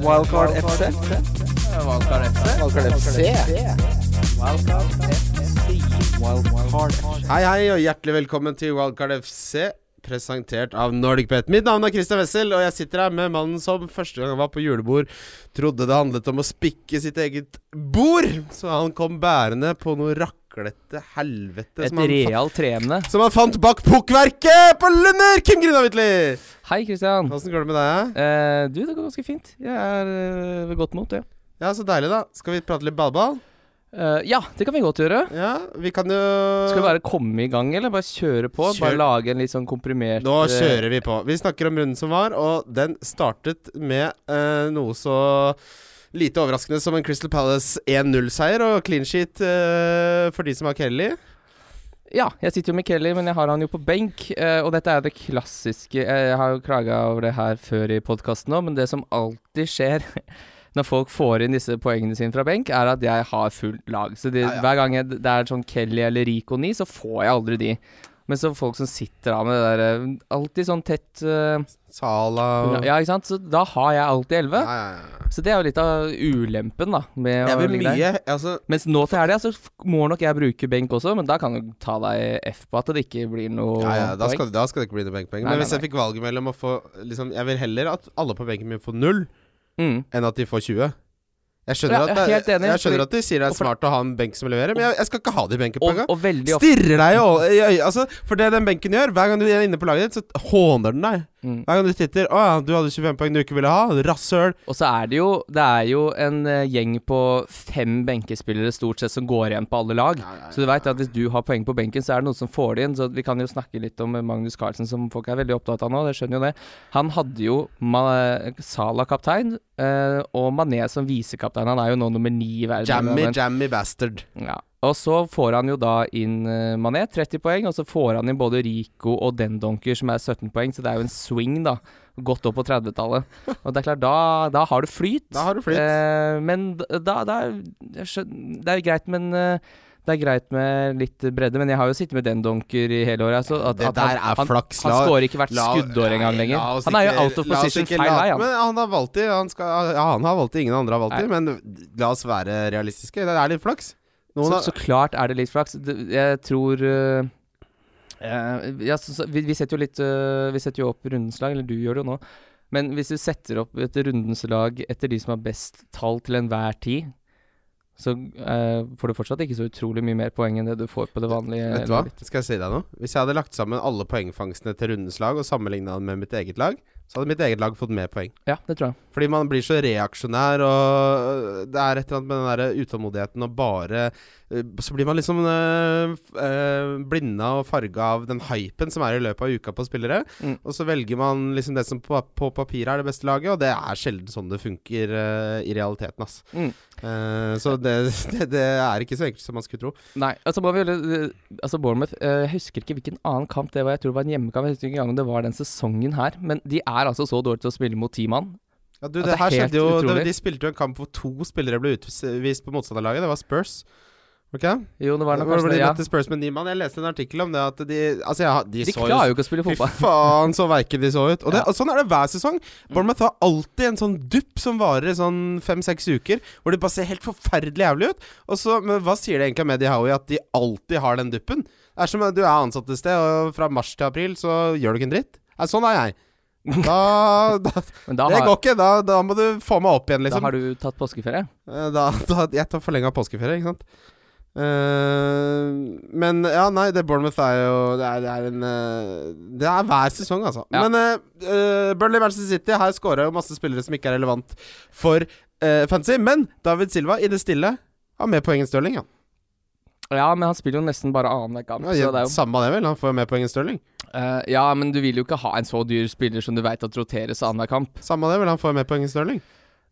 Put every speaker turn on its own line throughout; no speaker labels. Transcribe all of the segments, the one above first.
Wildcard FC.
Valkar FC.
Wildcard FC. Wildcard
Hei, hei, og hjertelig velkommen til Wildcard FC, presentert av NordicBet. Mitt navn er Christian Wessel, og jeg sitter her med mannen som første gang han var på julebord, trodde det handlet om å spikke sitt eget bord, så han kom bærende på noe raklete helvete
Et
som han,
real treemne.
fa- som han fant bak pukkverket på Lunder! Kim Grinamitli!
Hei, Kristian.
Åssen går det med deg?
Eh, du, det går ganske fint. Jeg er eh, ved godt mot, det.
ja? Ja, så deilig, da. Skal vi prate litt ballball?
Eh, ja, det kan vi godt gjøre.
Ja, vi kan jo
Skal vi bare komme i gang, eller? Bare kjøre på?
Kjør.
Bare lage en litt sånn komprimert
Nå
eh,
kjører vi på. Vi snakker om runden som var, og den startet med eh, noe så lite overraskende som en Crystal Palace 1-0-seier og clean sheet eh, for de som har Kelly.
Ja, jeg sitter jo med Kelly, men jeg har han jo på benk. eh, og dette er det klassiske Jeg har jo klaga over det her før i podkasten òg, men det som alltid skjer når folk får inn disse poengene sine fra benk, er at jeg har fullt lag. Så det, hver gang jeg, det er sånn Kelly eller Rico 9, så får jeg aldri de. Men så folk som sitter av med det der eh, Alltid sånn tett eh,
Sala og
Ja, ikke sant? Så da har jeg alltid 11.
Nei, nei, nei.
Så det er jo litt av ulempen, da. Med
Jeg
å
vil
ligge der.
mye altså,
Mens nå til helga så f- må nok jeg bruke benk også, men da kan du ta deg F på at det ikke blir noe
ja, ja, da,
poeng.
skal, da skal det ikke bli noe
Nei,
benkpoeng. Men
nei,
hvis jeg fikk valget mellom å få liksom, Jeg vil heller at alle på benken min får null,
Mm.
enn at de får 20. Jeg skjønner,
Ja,
at,
jeg er
det,
helt enig,
jeg skjønner
fordi-
at de sier det
og
er
for-
smart å ha en benk som leverer, men jeg, jeg skal ikke ha det i
Og,
benkepoenga.
og veldig ofte
Stirrer deg jo i øyet. Altså, for det den benken gjør, hver gang du er inne på laget ditt, så håner den deg.
Mm.
Hver gang du titter 'Å ja, du hadde 25 poeng du ikke ville ha', rasshøl.
Og så er det jo Det er jo en eh, gjeng på fem benkespillere stort sett som går igjen på alle lag. Så du veit at hvis du har poeng på benken, så er det noen som får det inn. Så vi kan jo snakke litt om eh, Magnus Carlsen, som folk er veldig opptatt av nå. Jeg skjønner jo det. Han hadde jo Ma Sala kaptein, eh, og Mané som visekaptein. Han er jo nå nummer ni i verden.
Jammy,
Men-
jammy bastard.
Ja. Og så får han jo da inn eh, Mané, 30 poeng, og så får han inn både Rico og Dendonker, som er 17 poeng, så det er jo en swing, da. Godt opp på 30-tallet. Og det er klart, da, da har du flyt.
Da har du flyt.
Eh, men d- da, da er- jeg skjøn- Det er greit, men eh, det er greit med litt bredde, men jeg har jo sittet med den donker i hele året. Så at,
Det
at
der
han-
er flaks.
Han,
La-
han skårer ikke hvert
la-
skuddår engang
nei,
lenger.
la oss
Han er jo
ikke-
out of
la oss
position
ikke
feil
la-
vei, han.
Men han har valgt de. Han skal, ja, han har valgt de, ingen andre har valgt de. Men la oss være realistiske. Det er litt flaks. Noen
Så,
har-
så klart er det litt flaks. Det- Jeg tror eh, eh, ja, så, så, vi, vi setter jo litt eh, Vi setter jo opp rundens lag, eller du gjør det jo nå. Men hvis du setter opp et rundens lag etter de som har best tall til enhver tid, så eh, får du fortsatt ikke så utrolig mye mer poeng enn det du får på det vanlige.
Vet du hva,
laget.
skal jeg si deg noe? Hvis jeg hadde lagt sammen alle poengfangstene til rundens lag og sammenligna med mitt eget lag, så hadde mitt eget lag fått mer poeng.
Ja, det tror jeg.
Fordi man blir så reaksjonær, og øh, det er et eller annet med den der utålmodigheten og bare øh, Så blir man liksom øh, f- øh, blinda og farga av den hypen som er i løpet av uka på spillere.
Mm.
Og så velger man liksom det som på, på papiret er det beste laget, og det er sjelden sånn det funker øh, i realiteten, ass.
Mm.
Eh, så det, det, det er ikke så enkelt som man skulle tro.
Nei, altså, må vi, gjøre- altså Bournemouth eh, Jeg husker ikke hvilken annen kamp det var. Jeg tror det var en hjemmekamp. Jeg husker ikke engang om det var den sesongen her. Men de er altså så dårlige til å spille mot ti mann.
Ja, du,
At
det,
det er
her
helt
skjedde jo det,
utrolig.
De spilte jo en kamp hvor to spillere ble utvist på motstanderlaget. Det var Spurs. Ok?
Jo, det var nok
Hvor
kanskje
ble
det.
de
Ja.
møtte Spurs med ni mann. Jeg leste en artikkel om det at de Altså, jeg, har- de,
De
så jo-
klarer jo ikke å spille
Fy
fotball.
faen, så veike de så ut. Og, det,
Ja. Mm.
og sånn er det hver sesong. Bournemouth har alltid en sånn dupp som varer i sånn fem-seks uker, hvor de bare ser helt forferdelig jævlig ut. Og så, men hva sier det egentlig om Eddie Howie at de alltid har den duppen? Det er som om du er ansatt et sted, og fra mars til april så gjør du ikke en dritt. Nei, sånn er jeg. Da, da
Men da
det
har,
går ikke. Da, da må du få meg opp igjen,
da
liksom.
har du tatt påskeferie.
Eh, Da, da, jeg tar forlenga påskeferie, ikke sant. Eh, men ja, nei, det Bournemouth er jo Det er, det er en eh, Det er hver sesong, altså.
Ja.
Men eh, eh, Burnley Manchester City, her scora jo masse spillere som ikke er relevant for eh, fantasy. Men David Silva, i det stille, har mer poeng enn Stirling. Ja.
Ja, men han spiller jo nesten bare annenhver kamp.
Ja,
så det er jo,
Samme det, vel. Han får jo mer poeng enn Stirling.
Eh, ja, men du vil jo ikke ha en så dyr spiller som du veit at roteres annenhver kamp.
Samme det, vel. Han får jo mer poeng enn Stirling.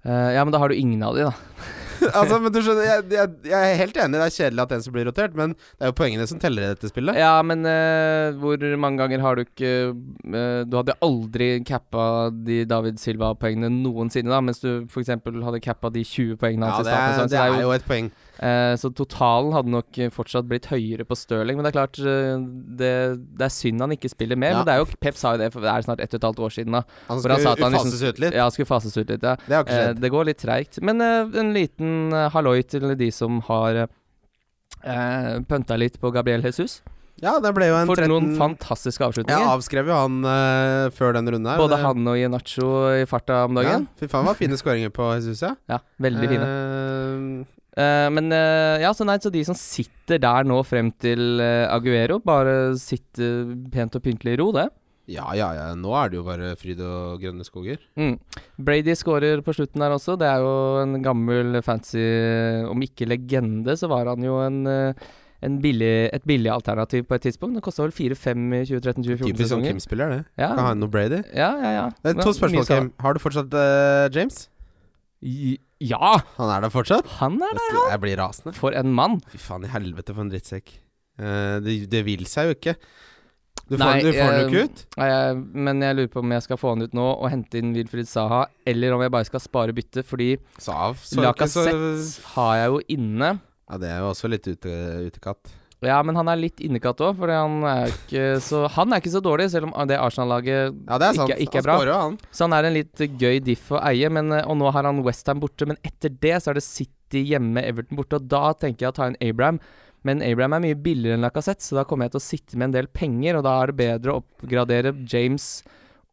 Eh, ja, men da har du ingen av de, da.
altså, men du skjønner, jeg, jeg, jeg er helt enig, det er kjedelig at en som blir rotert, men det er jo poengene som teller i dette spillet.
Ja, men eh, hvor mange ganger har du ikke eh, Du hadde aldri cappa de David Silva-poengene noensinne, da, mens du f.eks. hadde cappa de 20 poengene hans i
det, er,
starten.
det
så,
er jo et poeng.
eh, så totalen hadde nok eh, fortsatt blitt høyere på Stirling, men det er klart eh, det, det er synd han ikke spiller med.
Ja.
Men det er jo Pep sa jo det, for det er snart ett og et halvt år siden, da.
Han
Hvor han sa
skulle
at han liksom-
fases ut litt.
Ja, skulle fases ut litt, ja.
Det har ikke
Eh,
skjedd.
det går litt treigt. Men eh, en liten eh, halloi til de som har eh, pønta litt på Gabriel Jesus.
Ja, det ble jo en
For
13
noen fantastiske
Jeg
avslutninger.
avskrev jo han eh, før den runden her.
Både
Det-
han og Ienacho i farta om dagen.
Ja, fy faen, det var fine skåringer på Jesus, ja.
Ja, veldig fine.
Eh,
Eh, men eh, ja, så nei, så de som sitter der nå frem til eh, Aguero, bare sitter pent og pyntelig i ro, det.
ja, ja, ja. Nå er det jo bare fryd og grønne skoger.
Mm. Brady scorer på slutten der også. Det er jo en gammel fancy Om ikke legende, så var han jo en, eh, en billig, et billig alternativ på et tidspunkt. Det kosta vel 4-5 i 2013-2014
Typisk sånn
sesonger.
Kim-spiller, det. Kan
Ja,
ha noe Brady.
ja, ja. ja.
Det er
Men
to
mye
spørsmål,
skada.
Kim. Har du fortsatt eh, James?
I- Ja!
Han er der fortsatt?
Han er
Jeg, jeg blir rasende.
for en mann.
Fy faen i helvete, for en drittsekk. Eh, det, det vil seg jo ikke. Du får,
Nei,
du får den jo
eh,
ikke ut.
Nei, jeg- Men jeg lurer på om jeg skal få han ut nå og hente inn Wilfried Saha, eller om jeg bare skal spare byttet, fordi
Sa av. Så ikke så
Lacassette har jeg jo inne.
Ja, det er jo også litt ute, utekatt.
Ja, men han er litt innekatt òg, for han er jo ikke så Han er ikke så dårlig, selv om det Arsenal-laget
Ja, det er sant.
Ikke- ikke er
han
bra.
skårer jo, han.
Så han er en litt gøy diff å eie, men, eh, og nå har han Westham borte. Men etter det så er det City hjemme, Everton borte, og da tenker jeg å ta inn Abraham. Men Abraham er mye billigere enn Lacassette, så da kommer jeg til å sitte med en del penger, og da er det bedre å oppgradere James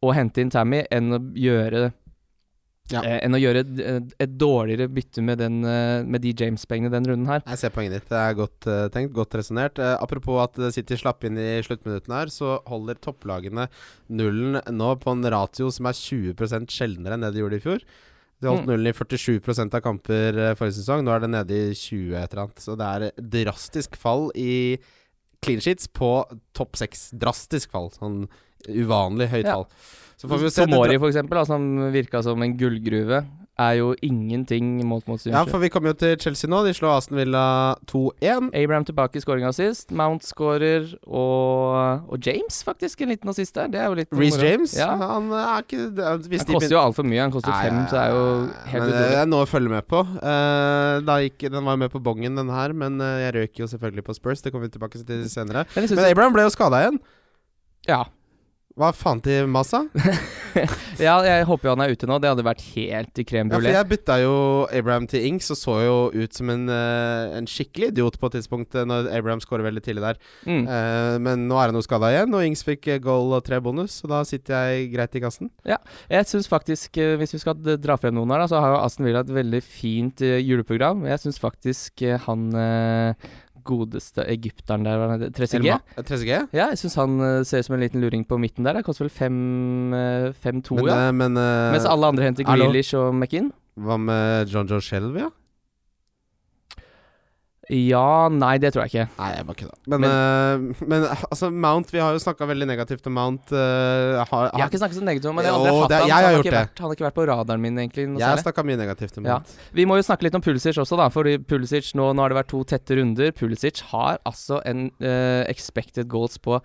og hente inn Tammy enn å gjøre
Ja.
eh, enn å gjøre et, et dårligere bytte med, den, eh, med de James-pengene den runden her.
Jeg ser poenget ditt. Det er godt eh, tenkt, godt resonnert. Eh, apropos at eh, City slapp inn i sluttminuttene her, så holder topplagene nullen nå på en ratio som er 20 sjeldnere enn det de gjorde i fjor. De holdt
Mm.
nullen i 47 av kamper eh, forrige sesong. Nå er det nede i 20 et eller annet. Så det er et drastisk fall i clean sheets på topp seks. Drastisk fall. Sånn uvanlig høyt
Ja.
fall. Så får vi jo se. det
Tomori, for eksempel, da, som virka som en gullgruve, er jo ingenting målt mot
dra- ja,
Synsjø.
for vi kommer jo til Chelsea nå. De slår Aston Villa 2-1.
Abraham tilbake i scoringa sist. Mount scorer, og, og James faktisk en liten assist der. Det er jo litt
Reece
moro.
James,
Ja.
han er ikke Han
Han koster jo altfor mye. Han koster
Nei,
fem,
nei,
så det er jo
nei,
helt
Men det
utrolig.
er noe å følge med på. Eh, da gikk, den var jo med på bongen, den her, men eh, jeg røk jo selvfølgelig på Spurs. Det kommer vi tilbake til senere.
Men jeg
eh, Men
synes,
Abraham ble jo skada igjen.
ja.
Hva faen til Massa? Ja,
ja, jeg håper jo han er ute nå. Det hadde vært helt i crème
for
brulé.
jeg bytta jo Abraham til Ings og så jo ut som en, eh, en skikkelig idiot på et tidspunkt eh, når Abraham skårer veldig tidlig der.
Mm.
Eh, men nå er han jo skada igjen, og Ings fikk eh, goal og tre bonus, så da sitter jeg greit i kassen.
Jeg syns faktisk, eh, hvis vi skal d- dra frem noen her, da, så har jo Aston Villa et veldig fint eh, juleprogram. Jeg syns faktisk eh, han eh, godeste egypteren der, hva er det, 3CG
Eller Ma- eh, 3CG?
Ja, jeg syns han eh, ser ut som en liten luring på midten der. Det koster vel fem, eh, 5-2,
Men,
ja.
eh, men eh,
Mens alle andre henter
hallo.
Grealish og McInn?
hva med John Joe Shelby, ja?
Ja, nei, det tror jeg ikke.
Nei, jeg bare kødda. Men, eh, men altså, Mount Vi har jo snakka veldig negativt om Mount. eh, har,
Jeg har ikke snakket så negativt om han. Jeg har
Ah. Jo,
aldri hatt
det-
han,
jeg
så han
har
har ikke
gjort det.
vært, han har ikke vært på radaren min, egentlig. Noe
jeg har
særlig.
snakka mye negativt om
Ja.
Mount.
Vi må jo snakke litt om Pulisic også, da. Fordi Pulisic nå, nå har det vært to tette runder. Pulisic har altså en eh, expected goals på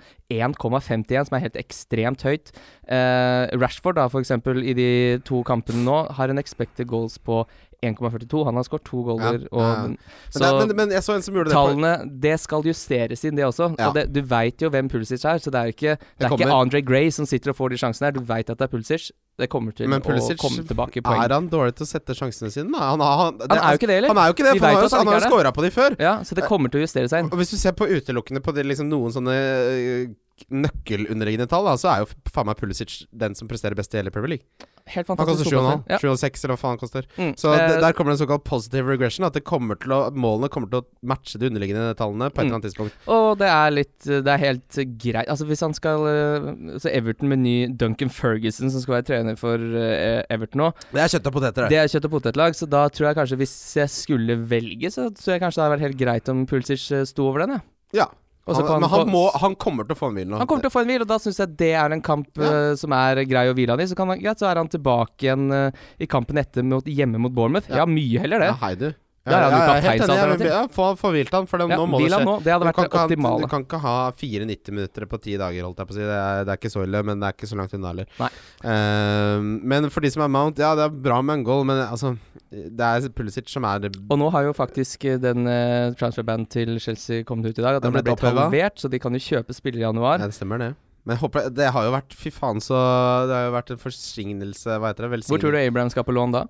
1,51, som er helt ekstremt høyt. Eh, Rashford, da, for eksempel, i de to kampene nå, har en expected goals på 1,42. Han har skåret to goaler.
Ja, ja.
Og,
Men, det, men, men jeg så en som gjorde det. på-
Tallene, det skal justeres inn, det også.
Ja.
Så det, du veit jo hvem Pulisic er, så det er ikke, det er ikke
kommer.
Andre Gray som sitter og får de sjansene her. Du veit at det er Pulisic. Det kommer til
Men
å
Pulisic
komme tilbake i
Er
poeng.
han dårlig til å sette sjansene sine? da? Han, har- han, det- altså,
Han er jo ikke det,
han
heller.
er jo ikke det,
Vi
for
vet
han har
at han
jo- han har
ikke
jo
er
scora på de før.
Ja, så det kommer til å justere seg inn.
Og hvis du ser på utelukkende på de, liksom, noen sånne eh, nøkkelunderliggende tall, da, så er jo f- faen meg Pulisic den som presterer best i hele Premier League.
Helt
Han koster
fantastisk.
7,5.
fotball. Ja.
7,6 eller hva faen han koster.
Mm.
Så
Eh,
det, der kommer det en såkalt positive regression. At det kommer til å, målene kommer til å matche de underliggende tallene på
Mm.
et eller annet tidspunkt.
Og det er litt Det er helt greit Altså hvis han skal eh, Så Everton med ny Duncan Ferguson, som skal være trener for eh, Everton nå,
Det er kjøtt og poteter,
det er kjøtt og potetlag, så da tror jeg kanskje Hvis jeg skulle velge, så tror jeg kanskje det hadde vært helt greit om Pulisic eh, sto over den, jeg.
Ja.
Og så
Han,
kan
men han,
få-
må, han kommer til å få en hvil nå.
Han kommer til å få en hvil, og da syns jeg det er en kamp
Ja.
eh, som er grei å hvile han i. Så, kan han, greit, så er han tilbake igjen eh, i kampen etter mot, hjemme mot Bournemouth.
Ja.
Ja, mye heller det.
Ja, hei, du. Ja,
Der er det jo
ja, jeg helt enig, jeg vil-
kapteinsalternativ.
Ja, få, få hvilt han, for det,
Ja,
nå må
hvil
det
han
skje.
nå. Det hadde
Du
vært
kan,
det
ikke ha, du
optimale.
kan ikke ha fire 90-minutter på ti dager, holdt jeg på å si. Det er, det er ikke så ille, men det er ikke så langt unna heller.
Nei.
Eh, men for de som er Mount, ja, det er bra med en goal, men altså Det er Pulisic som er det
Og nå har jo faktisk eh, den eh, transferbanen til Chelsea kommet ut i dag. At
Den
den har
blitt
blitt
opphevet.
halvert, så de kan jo kjøpe spillere i januar.
Ja, det stemmer, det. Men jeg håper Det har jo vært Fy faen, så Det har jo vært en forsignelse, hva heter det?
Hvor tror du Abraham skal på lån da?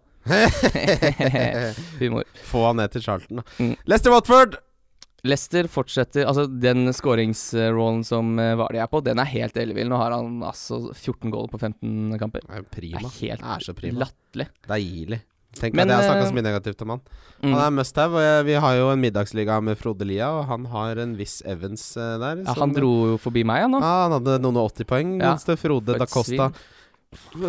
Humor.
Få han ned til Charlton, da.
Mm.
Lester Watford!
Leicester fortsetter Altså, den skåringsrollen som eh, Vardy er på, den er helt ellevill. Nå har han altså 14 goal på 15 kamper.
Det er jo
Det
prima.
er helt
Det er så prima.
latterlig.
Deilig. Tenk
Men,
at jeg har snakka
eh,
så mye negativt om han.
Mm.
Han er must have, og jeg, vi har jo en middagsliga med Frode Lia, og han har en viss Evans eh, der.
Ja,
som-
han dro jo forbi meg, han nå.
Ja, han hadde noen og 80 poeng,
Ja.
mens det Frode
For
da
et
Costa Det er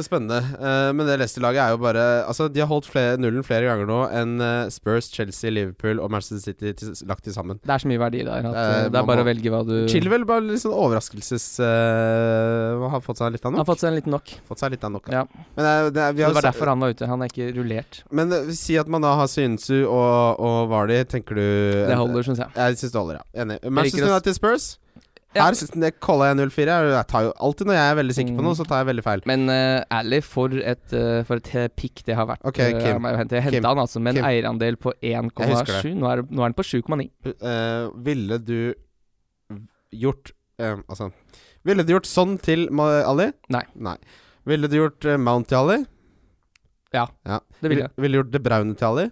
Spennende. Eh, men det Leicester-laget er jo bare Altså, de har holdt flere, nullen flere ganger nå enn eh, Spurs, Chelsea, Liverpool og Manchester City til, lagt til sammen.
Det er så mye verdi der. At,
Eh,
eh, det
man
er bare
må-
å velge hva du
Chilwell bare litt sånn overraskelses... eh, har fått seg litt av
Han
nok.
har fått seg en liten nok.
Fått seg litt av nok.
Ja.
Men eh, det, er- vi
Det
har
var
s-
derfor han var ute. Han er ikke rullert.
Men eh, si at man da har Synsu og, og Vardy, tenker du
Det holder, syns jeg.
Jeg syns det holder, ja. Enig. Manchester
å s-
United Spurs.
Ja.
Her syns jeg calla jeg 04. Jeg jeg tar jo alltid når jeg er veldig sikker på
Mm.
noe, så tar jeg veldig feil.
Men uh, ærlig, for et, eh, for et eh, pikk det har vært.
Ok,
eh,
Kim.
av meg å hente. Jeg
Kim.
henta han altså med en
Kim.
eierandel på 1,7.
Jeg husker det.
Nå, er det- nå er den på 7,9.
Eh, ville du gjort eh, Altså Ville du gjort sånn til Ma- Ali?
Nei.
Ville du gjort eh, Mount til Ali?
Det vil jeg.
Ville du gjort De Braune til Ali?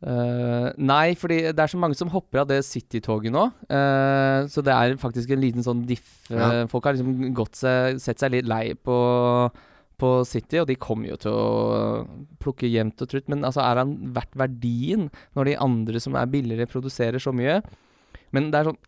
Eh, nei, fordi det er så mange som hopper av det City-toget nå. eh, så det er faktisk en liten sånn diff. eh,
Ja.
Folk har liksom gått seg, sett seg litt lei på, på City, og de kommer jo til å plukke jevnt og trutt. Men altså, er han verdt verdien når de andre som er billigere, produserer så mye? Men det er sånn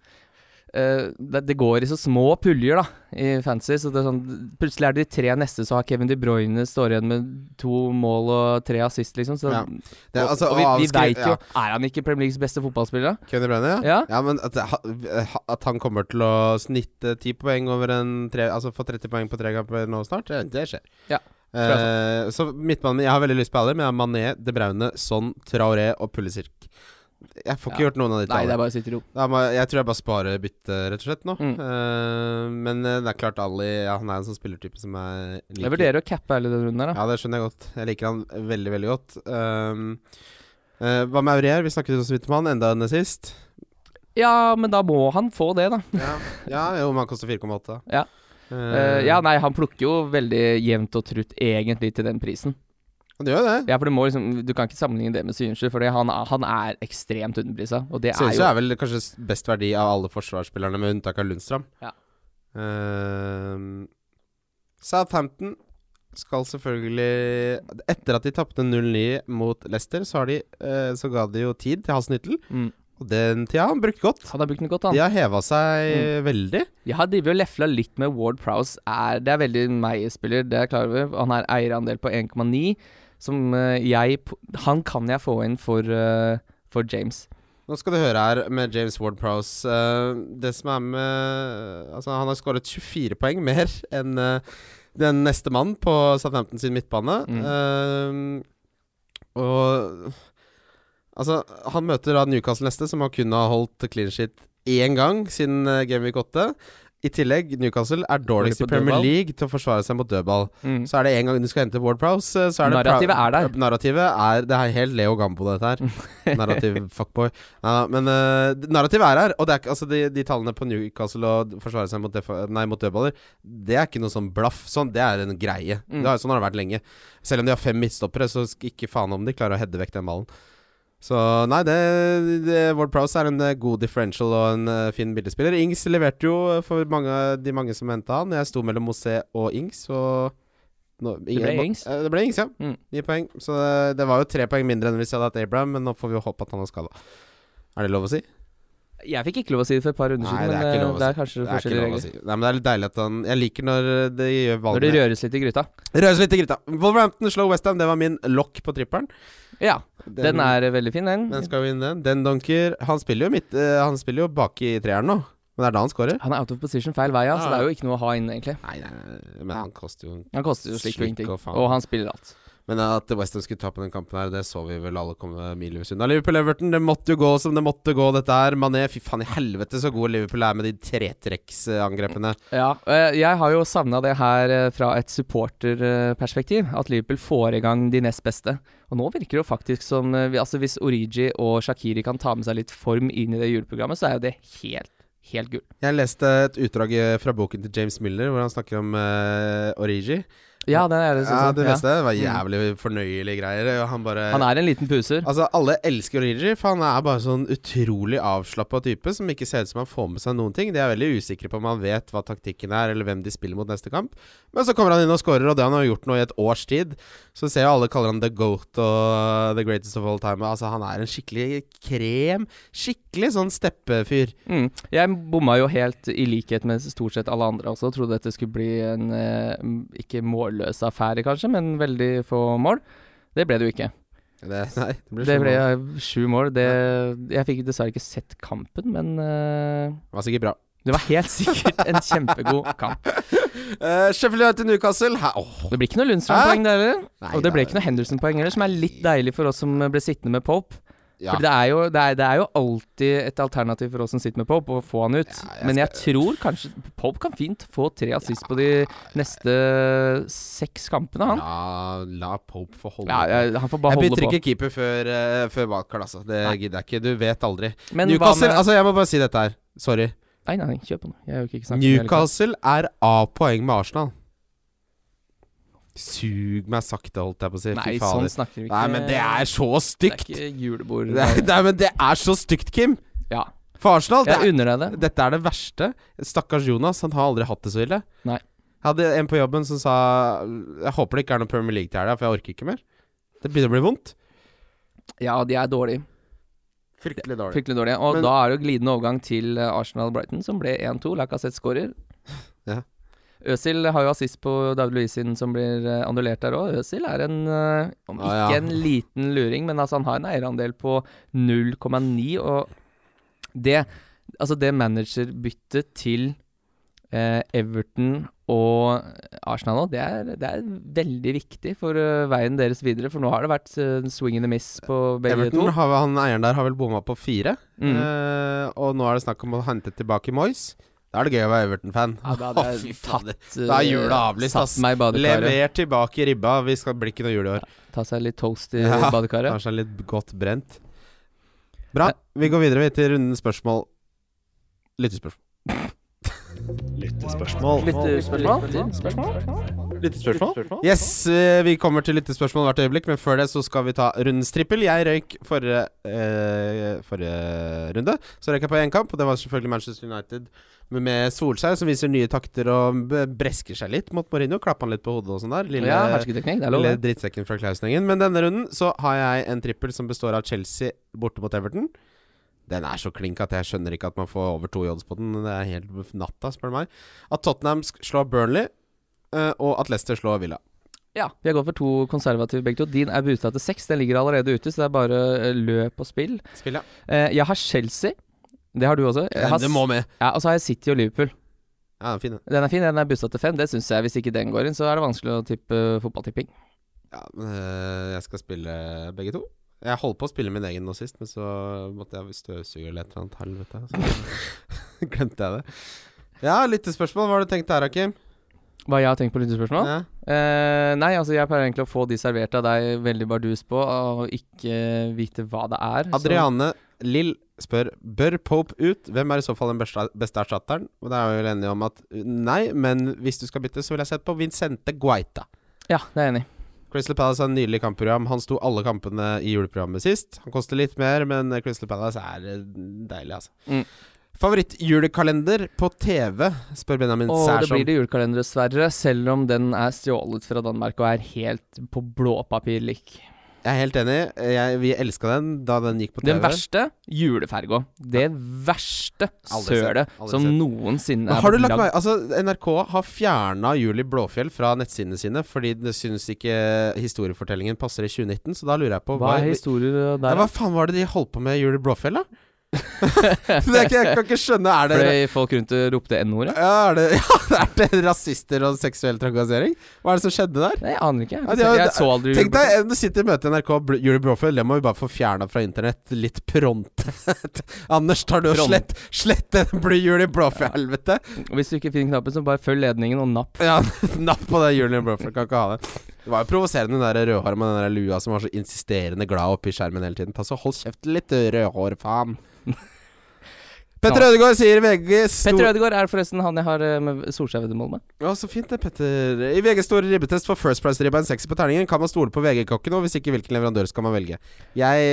eh, det, det går i så små puljer, da, i fantasy. Så det er sånn, plutselig er det de tre neste, så har Kevin De Bruyne står igjen med to mål og tre assist, liksom. Så
Ja. Det
og,
er altså
og vi, vi
avskri-
vet jo Er han ikke Premier Leagues beste fotballspiller, da?
ja. Kevin De Bruyne, ja?
Ja.
men at, det- ha- at han kommer til å snitte 10 poeng over en tre, Altså få 30 poeng på tre kamper nå snart, det, det skjer.
Ja, jeg
Eh, så midtbanen Jeg har veldig lyst på Ali, men jeg har Mané, De Braune, Son, Traoré og Pulisic. Jeg får ikke
Ja.
gjort noen av de
Nei,
tallene.
det er bare å sitte i ro.
Da må, jeg tror jeg bare sparer byttet, rett og slett, nå.
Mm.
Eh, men eh, det er klart Ali ja, Han er en sånn spillertype som jeg liker.
Jeg vurderer å cappe hele den runden her, da.
Ja, det skjønner jeg godt. Jeg liker han veldig, veldig godt. Um, eh, hva med Aurier? Vi snakket jo så vidt om han, enda enn sist.
Ja, men da må han få det, da.
Ja, ja jo, men han koster 4,8.
Ja. Eh,
Eh,
ja, nei, han plukker jo veldig jevnt og trutt, egentlig, til den prisen.
Han gjør jo det.
Ja, for du må liksom Du kan ikke sammenligne det med Synsjø, for han, er- han er ekstremt underprisa, og det er
Synes jo
jo
er vel kanskje s- best verdi av alle forsvarsspillerne, med unntak av Lundstrøm.
Ja.
Ehm, Southampton skal selvfølgelig Etter at de tapte 0-9 mot Leicester, så, har de, eh, så ga de jo tid til Hasenhyttel.
mm.
Og den tida har han brukt godt.
Han har brukt den godt,
De
han.
har heva
Mm.
seg veldig.
Jeg har drevet og lefla litt med Ward Prowse. Er, det er veldig meg-spiller, det er jeg klar over. Han er eierandel på 1,9, som eh, jeg p- Han kan jeg få inn for, eh, for James.
Nå skal du høre her med James Ward-Prowse. eh, det som er med Altså, han har skåret 24 poeng mer enn eh, den neste mannen på Southampton sin midtbane.
Mm.
Eh, og Altså, han møter da Newcastle neste, som har kun har holdt clean shit én gang siden eh, Game Week 8. I tillegg, Newcastle er dårligst i
på
Premier
dødball.
League til å forsvare seg mot dødball.
Mm.
Så er det en gang du skal hente Ward Prowse, eh, så er det
Narrativet
Prow-
er der.
Narrativet er Det er helt Leo Gambo, dette her. Narrativ fuckboy. Nei da, men eh, d- narrativet er her. Og det er ikke Altså, de, de tallene på Newcastle og forsvare seg mot, defa- nei, mot dødballer, det er ikke noe sånn blaff. Sånn, det er en greie.
Mm.
Det har, sånn har det vært lenge. Selv om de har fem midtstoppere, så sk- ikke faen om de klarer å heade vekk den ballen. Så nei, det, det Ward Prowse er en eh, god differential og en eh, fin billedspiller. Ings leverte jo eh, for mange, de mange som henta han. Jeg sto mellom Mosé og Ings, og nå,
ble Ings.
Eh, Det ble Ings, ja.
Mm.
Ni poeng. Så eh, det, det var jo tre poeng mindre enn hvis jeg hadde hatt Abraham, men nå får vi jo håpe at han har skada. Er det lov å si?
Jeg fikk ikke lov å si det for et par runder siden,
Nei, det
men
er ikke
eh,
lov å
det
si.
er kanskje
Det er ikke
forskjellige
lov å
regler.
si. Nei, men det er litt deilig at han Jeg liker når eh, det gjør
Når det
valgene
røres litt i gryta.
Røres litt i gryta. Wolverhampton slår Westham, det var min lock på tripperen.
Ja, den er eh, veldig fin, den.
Den skal jo inn, den. Den dunker. Han spiller jo midt eh, Han spiller jo bak i treeren nå, men det er da han scorer.
Han er out of position feil vei, altså. ja, så
Ja.
det er jo ikke noe å ha inne, egentlig.
Nei, nei, nei, men han koster jo
Han koster jo slik
Slik
og ingenting,
og faen.
og han spiller alt.
Men at Westham skulle tape den kampen her, det så vi vel alle komme milevis unna. Liverpool-Everton, det måtte jo gå som det måtte gå, dette her. Mané, fy faen i helvete så god Liverpool er med de tretrekksangrepene.
Ja, eh, jeg har jo savna det her eh, fra et supporterperspektiv. At Liverpool får i gang de nest beste. Og nå virker det jo faktisk som eh, vi- Altså Hvis Origi og Shakiri kan ta med seg litt form inn i det juleprogrammet, så er jo det helt, helt gull.
Jeg leste et utdrag eh, fra boken til James Miller, hvor han snakker om eh, Origi.
Ja, det er det.
Ja,
sånn,
du
ja.
leste det? Det var jævlig fornøyelige greier. Og han bare
Han er en liten puser.
Altså, alle elsker Origi, for han er bare sånn utrolig avslappa type som ikke ser ut som han får med seg noen ting. De er veldig usikre på om han vet hva taktikken er, eller hvem de spiller mot neste kamp. Men så kommer han inn og scorer, og det han har gjort nå i et års tid. Så ser jo alle kaller han the goat og uh, the greatest of all time. Altså, han er en skikkelig krem. Skikkelig sånn steppefyr.
Mm. Jeg bomma jo helt, i likhet med stort sett alle andre også, trodde dette skulle bli en eh, m- ikke målløs affære, kanskje, men veldig få mål. Det ble det jo ikke.
Det, nei, det blir
Det
sånn.
ble eh, sju mål. Det, jeg fikk dessverre ikke sett kampen, men eh,
Det var sikkert bra.
det var helt sikkert en kjempegod kamp.
Uh, Sheffield United Newcastle. Hæ? Åh.
Det blir ikke noe Lundstrand-poeng der heller.
Nei,
Og det ble
er-
ikke noe Henderson-poeng heller, som er litt deilig for oss som ble sittende med Pope.
ja.
Fordi det er, jo, det, er, det er jo alltid et alternativ for oss som sitter med Pope, å få han ut.
jeg
Men jeg tror kanskje Pope kan fint få tre assist på de neste seks kampene, han.
La, la Pope få holde
Ja, jeg- han får bare
Jeg
holde
bytter
på.
ikke keeper før, uh, før valgkart, altså. Det
Nei.
gidder jeg ikke. Du vet aldri.
Men hva
Newcastle
med-
Altså, jeg må bare si dette her. Sorry.
Nei, nei, kjør på nå. Jeg har jo ikke snakket om det hele kampen.
Newcastle er A-poeng med Arsenal. Sug meg sakte, holdt jeg på å si.
Nei,
Fy
sånn
fader.
snakker vi ikke.
Nei, men det er så
Det er
stygt!
ikke julebord.
Nei, nei, men det er så stygt, Kim!
Ja.
For Arsenal. Det
Jeg
er,
unner deg det.
dette er det verste. Stakkars Jonas, han har aldri hatt det så ille.
Nei.
Jeg hadde en på jobben som sa Jeg håper det ikke er noe Premier League til helga, for jeg orker ikke mer. Det begynner å bli vondt.
Ja, de er dårlige.
Fryktelig dårlig.
Fryktelig dårlige. Og
Men-
da er det jo glidende overgang til eh, Arsenal-Brighton, som ble 1-2. Lacassette skårer.
Ja.
Øzil har jo assist på David Luiz sin, som blir eh, annullert der òg. Øzil er en eh, Om ikke
Ah, ja.
en liten luring, men altså han har en eierandel på 0,9, og det Altså, det managerbyttet til eh, Everton og Arsenal nå, det er, det er veldig viktig for eh, veien deres videre. For nå har det vært eh, swing and a miss på begge
Everton,
to.
har, han eieren der, har vel bomma på fire.
Mm.
Eh, og nå er det snakk om å hente tilbake Moyes. Da er det gøy å være Everton-fan.
Ja, da hadde
Å, fy
jeg
fader.
tatt eh,
Da er jula avlyst,
Satt
ass.
meg i badekaret.
Lever tilbake ribba. Vi skal blir ikke noe jul i år.
Ta seg litt toast i
Ja.
badekaret.
Kanskje er litt godt brent. Bra. Vi går videre vi, til runden spørsmål. Lyttespørsmål.
Lyttespørsmål. Lyttespørsmål?
Yes, eh, vi kommer til lyttespørsmål hvert øyeblikk, men før det så skal vi ta rundens trippel. Jeg røyk forrige, eh, forrige runde. Så røyk jeg på én kamp, og det var selvfølgelig Manchester United med- med Solskjær, som viser nye takter og b- bresker seg litt mot Mourinho. Klapper han litt på hodet og sånn der. Lille,
Ja, hersketeknikk. Det er lov.
lille
det.
drittsekken fra Klausenengen. Men denne runden så har jeg en trippel som består av Chelsea borte mot Everton. Den er så klink at jeg skjønner ikke at man får over to i odds på den. Det er helt natta, spør du meg. At Tottenham sk- slår Burnley, eh, og at Leicester slår Villa.
Ja, Vi har gått for to konservative begge to. Din er busta til seks. Den ligger allerede ute, så det er bare eh, løp og spill.
Spill, ja.
Eh, jeg har Chelsea. Det har du også. Jeg har,
Eh, det må med.
ja, og så har jeg City og Liverpool.
Ja, den er fin, den.
Den er fin, den er busta til fem. Det syns jeg. Hvis ikke den går inn, så er det vanskelig å tippe eh, fotballtipping.
Ja, men, øh, jeg skal spille begge to. Jeg holdt på å spille min egen nå sist, men så måtte jeg støvsuge eller et eller annet helvete. Så glemte jeg det. Ja, lyttespørsmål. Hva har du tenkt der, Kim?
Hva jeg har tenkt på lyttespørsmål?
Ja.
Eh, nei, altså jeg pleier egentlig å få de servert av deg veldig bardus på, og ikke vite hva det er. så-
Adriane Lill spør Bør Pope ut? Hvem er i så fall den beste beste erstatteren? Og da er vi vel enige om at øh, nei, men hvis du skal bytte, så vil jeg sette på Vincente Guaita.
Ja, det er jeg enig i.
Crystal Palace har en nydelig kampprogram. Han sto alle kampene i juleprogrammet sist. Han koster litt mer, men Crystal Palace er eh, deilig, altså.
Mm.
Favorittjulekalender på TV, spør Benjamin
Og det
Særsson.
blir det julekalender, dessverre, selv om den er stjålet fra Danmark og er helt på blåpapirlik.
Jeg er helt enig. Jeg, vi elska den da den gikk på TV.
Den verste juleferga. Det verste
Aldri sett,
sølet
aldri
som
sett.
noensinne
Men har du
blitt
lagt meg, altså NRK har fjerna Julie Blåfjell fra nettsidene sine fordi det syns ikke historiefortellingen passer i 2019, så da lurer jeg på
Hva er historier
ja,
der?
hva faen var det de holdt på med i Julie Blåfjell, da? Det er ikke, jeg kan ikke skjønne Er det
Fordi folk rundt ropte N-ordet?
ja, er det, ja, er det rasister og seksuell trakassering? Hva er det som skjedde der?
Nei, jeg aner ikke. Jeg,
Ja, de har-
jeg så aldri
Tenk deg, eh, Du sitter i møte i NRK, bl- Julie Brofeld, det må vi bare få fjerna fra internett litt pronte. Anders, tar du og
Prompt.
slett, slett den blir Julie Brofeld-helvete?
Hvis du ikke finner knappen, så bare følg ledningen og napp.
Ja, napp på det, Julie Brofeld, kan ikke ha det. Det var jo provoserende, den der rødhåra med den der lua som var så insisterende glad oppi skjermen hele tiden. Ta så Hold kjeft litt, rødhår, faen. Petter Ødegaard sier i VG stor-
Petter Ødegaard er forresten han jeg har eh, med Solskjær-veddemål med.
Ja, så fint det, Petter. I VGs store ribbetest for First Price-ribba en sekser på terningen. Kan man stole på VG-kokken, og hvis ikke, hvilken leverandør skal man velge? Jeg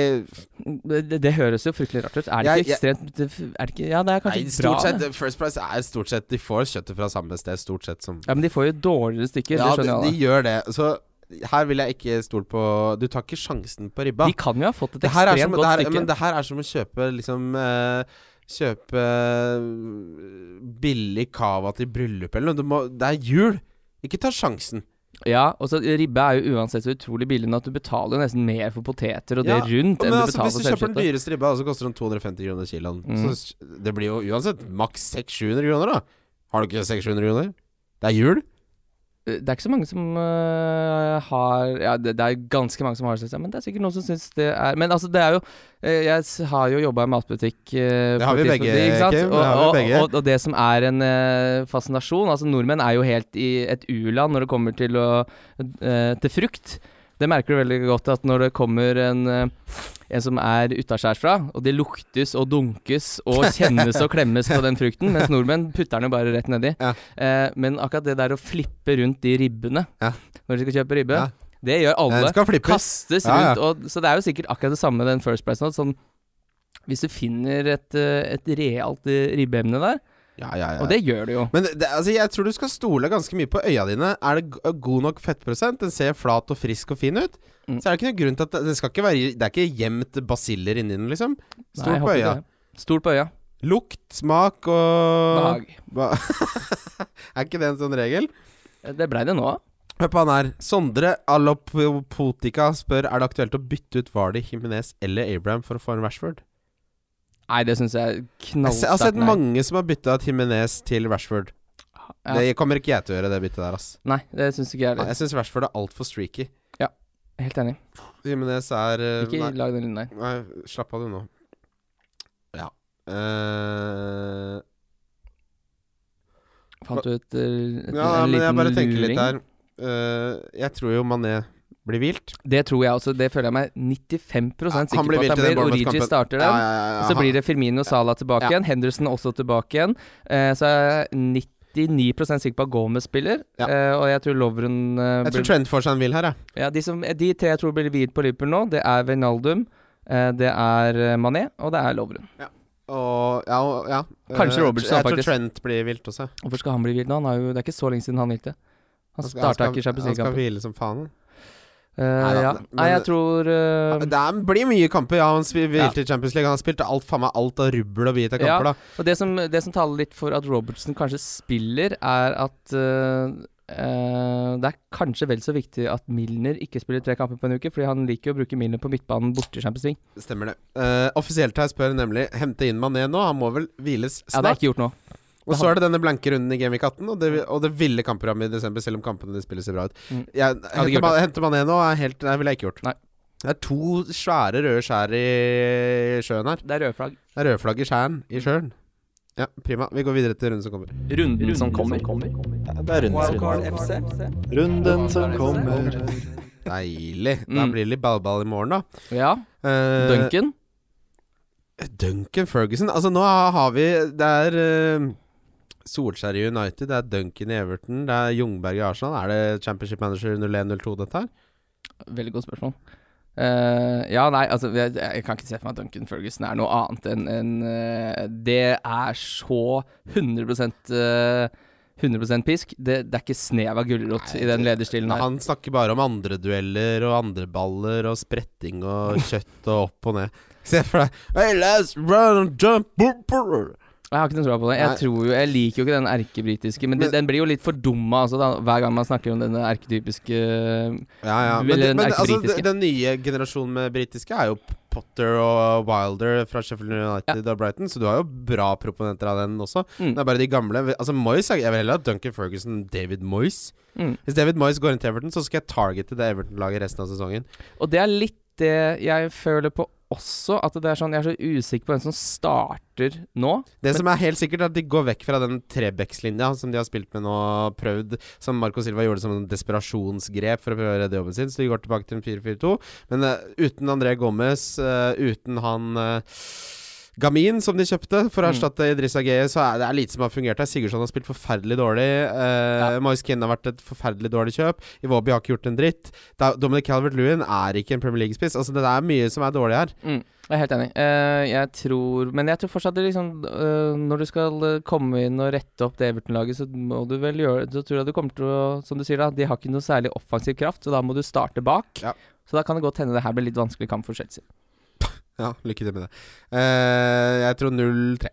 Det, det, det høres jo fryktelig rart ut. Er det
Jeg-
ikke ekstremt det, Er det ikke Ja, det er kanskje bra.
Nei, stort sett,
det.
First Price er stort sett De får kjøttet fra samme sted, stort sett som
Ja, Men de får jo dårligere stykker, det
Ja, de,
skjønner
de
jeg.
gjør det. Så her vil jeg ikke stole på Du tar ikke sjansen på
alle.
ribba.
De kan jo ha fått et
Det her, er
ekstremt
som, det,
godt
her,
stykke.
men det her er som å kjøpe liksom eh, Kjøpe eh, billig cava til bryllup eller noe. Du må, det er jul! Ikke ta sjansen.
Ja, og så Ribbe er jo uansett så utrolig billig nå at du betaler jo nesten mer for poteter og
Ja,
det rundt enn
Men
du
altså,
betaler
hvis
for
du kjøper den
selvkjøttet.
dyreste ribba, så koster den 250 kroner kiloen.
Mm.
Så s- det blir jo uansett maks 600-700 kroner, da. Har du ikke 600 kroner? Det er jul.
Eh, Det er ikke så mange som øh, har Ja, det, det er ganske mange som har selvkjøtt, men det er sikkert noen som syns det er Men altså, det er jo eh, Jeg s- har jo jobba i matbutikk eh,
Det
på et
har vi
tidspunkt,
begge,
ikke sant?
Kim, det
Og,
har vi
og,
begge.
Og, og det som er en eh, fascinasjon Altså, nordmenn er jo helt i et u-land når det kommer til, å, eh, til frukt. Det merker du veldig godt at når det kommer en eh, en som er utaskjærsfra, og det luktes og dunkes og kjennes og klemmes på den frukten, mens nordmenn putter den jo bare rett nedi.
Ja.
Eh, men akkurat det der å flippe rundt de ribbene
Ja.
når de skal kjøpe ribbe,
Ja.
det gjør alle.
Den skal flippes.
Kastes
Ja, ja.
rundt. Og, så det er jo sikkert akkurat det samme den First Price nå. Sånn, hvis du finner et, eh, et realt eh, ribbeemne der,
Ja, ja, ja.
og det gjør du jo.
Men det, altså, jeg tror du skal stole ganske mye på øya dine. Er det g- god nok fettprosent? Den ser flat og frisk og fin ut.
Mm.
Så er det ikke noen grunn til at det, det skal ikke være Det er ikke gjemt basiller inni den, liksom.
Nei,
Stol
jeg
på
håper ikke
øya.
det. Stol på øya.
Lukt, smak og
Behag.
Ba- Er ikke det en sånn regel?
Det blei det nå.
Hør på han her. Sondre Allopotika spør Er det aktuelt å bytte ut Vardy, Jimenez eller Abraham for å få en Rashford.
Nei, det syns jeg er
Jeg se- jeg har
knallsterkt.
sett
nei.
mange som har bytta ut Jimenez til Rashford.
Ja.
Det kommer ikke jeg til å gjøre, det byttet der, ass.
Nei, det syns ikke jeg
Nei,
heller.
Jeg syns Rashford er altfor streaky.
Helt enig.
Jimenez er eh,
Ikke
nei.
lag den lyden der.
Nei, slapp av du nå. Ja. Eh,
Fant du ut eh, et,
ja,
en
men
liten
jeg bare tenker
luring?
litt her. Eh, jeg tror jo Mané blir vilt.
Det tror jeg også. Det føler jeg meg 95
Ja, han
sikker
blir
på.
vilt i
At
den
det blir Origi
Bournemouth-kampen.
starter den. og så blir det Firmino Sala tilbake
Ja.
igjen. Henderson også tilbake igjen. Eh, så jeg er 99 sikker på at Gomez spiller.
Ja.
Eh, og jeg tror Lovren eh,
Jeg tror
blir,
Trent får seg en hvil her, jeg.
ja, de, som, de tre jeg tror blir viet på Liverpool nå, det er Wijnaldum, eh, det er eh, Mané, og det er Lovren.
Og ja, og, ja. Eh,
Kanskje Robertson,
Jeg tror
faktisk.
Trent blir vilt også.
Hvorfor skal han bli viet nå? Han har jo, det er ikke så lenge siden han hvilte. Han
skal-
starta
han skal-
ikke i Champions
Han skal
League-kampen.
hvile som faen.
Eh,
Nei,
ja.
da, men-
Nei, jeg tror eh,
Det er, blir mye kamper. Ja, han spil- hvilte i Champions League. Han har spilt alt faen meg alt av rubbel og bit av
Ja.
kamper, da.
Og det som, det som taler litt for at Robertson kanskje spiller, er at eh, eh, det er kanskje vel så viktig at Milner ikke spiller tre kamper på en uke, fordi han liker jo å bruke Milner på midtbanen borte i Champions League.
Stemmer det. Eh, offisielt her spør nemlig Hente inn Mané nå. Han må vel hviles
Ja, det er
snart.
ikke gjort nå.
Og så er det denne blanke runden i Gamevik 18, og det, og det ville kampprogrammet i desember, selv om kampene de spiller ser bra ut.
Mm.
Jeg,
hadde ikke
henter, man, henter man en nå, er helt Nei, ville jeg ikke gjort.
Nei.
Det er to svære røde skjær i sjøen her.
Det er røde flagg.
Det er røde flagg i skjæren i sjøen. Ja, prima. Vi går videre til runden som kommer.
Runden som kommer.
Det er runden som
Wildcard FC.
Runden som kommer.
Deilig. Da
Mm.
blir det litt ballball i morgen, da.
Ja,
Eh,
Duncan.
Duncan Ferguson. Altså, nå har vi Det er eh, Solskjær i United, det er Duncan i Everton, det er Jungberg i Arsenal. Er det Championship Manager 0102, dette her?
Veldig godt spørsmål. Eh, ja, nei, altså jeg, jeg kan ikke se for meg at Duncan Ferguson er noe annet enn enn, eh, Det er så 100 eh, 100 pisk. Det, det er ikke snev av gulrot
Nei,
i den
det-
lederstilen her.
Han snakker bare om andre dueller og andre baller og spretting og kjøtt og opp og ned. Se for deg hey, let's run and jump boop, boop.
Jeg har ikke noe tro på det. Jeg,
Nei.
tror jo, jeg liker jo ikke den erkebritiske, men,
Men-
den blir jo litt fordumma altså, da, hver gang man snakker om denne erketypiske
Ja, ja.
Eller
Men,
den
men
er ikke
altså,
britiske.
den, den nye generasjonen med britiske er jo p- Potter og Wilder fra Sheffield United og Brighton, så du har jo bra proponenter av den også.
Mm.
Det er bare de gamle. Altså Moyes, Jeg jeg vil heller ha Duncan Ferguson enn David Moyes.
Mm.
Hvis David Moyes går inn til Everton, så skal jeg targete det Everton-laget resten av sesongen.
Og det er litt det jeg føler på også, at det er sånn, jeg er så usikker på hvem som starter nå.
Det
Men-
som er helt sikkert, er at de går vekk fra den trebeckslinja som de har spilt med nå og prøvd, som Marco Silva gjorde som en desperasjonsgrep for å prøve å redde jobben sin, så de går tilbake til en 4-4-2. Men eh, uten André Gomez, eh, uten han eh, Gamin, som de kjøpte for å
Mm.
erstatte Idrissa Geye, så er det er lite som har fungert her. Sigurdsson har spilt forferdelig dårlig. Uh, Moise Keane har vært et forferdelig dårlig kjøp. Iwobi har ikke gjort en dritt. Da, Dominic Calvert-Lewin er ikke en Premier League-spiss. Altså, det er mye som er dårlig her.
Jeg er helt enig. Eh, jeg tror Men jeg tror fortsatt det liksom eh, Når du skal eh, komme inn og rette opp det Everton-laget, så må du vel gjøre Så tror jeg du kommer til å Som du sier, da. De har ikke noe særlig offensiv kraft, så da må du starte bak.
Ja.
Så da kan det godt hende det her blir litt vanskelig kamp for Chelsea.
Ja, lykke til med det. Eh, jeg tror 0-3.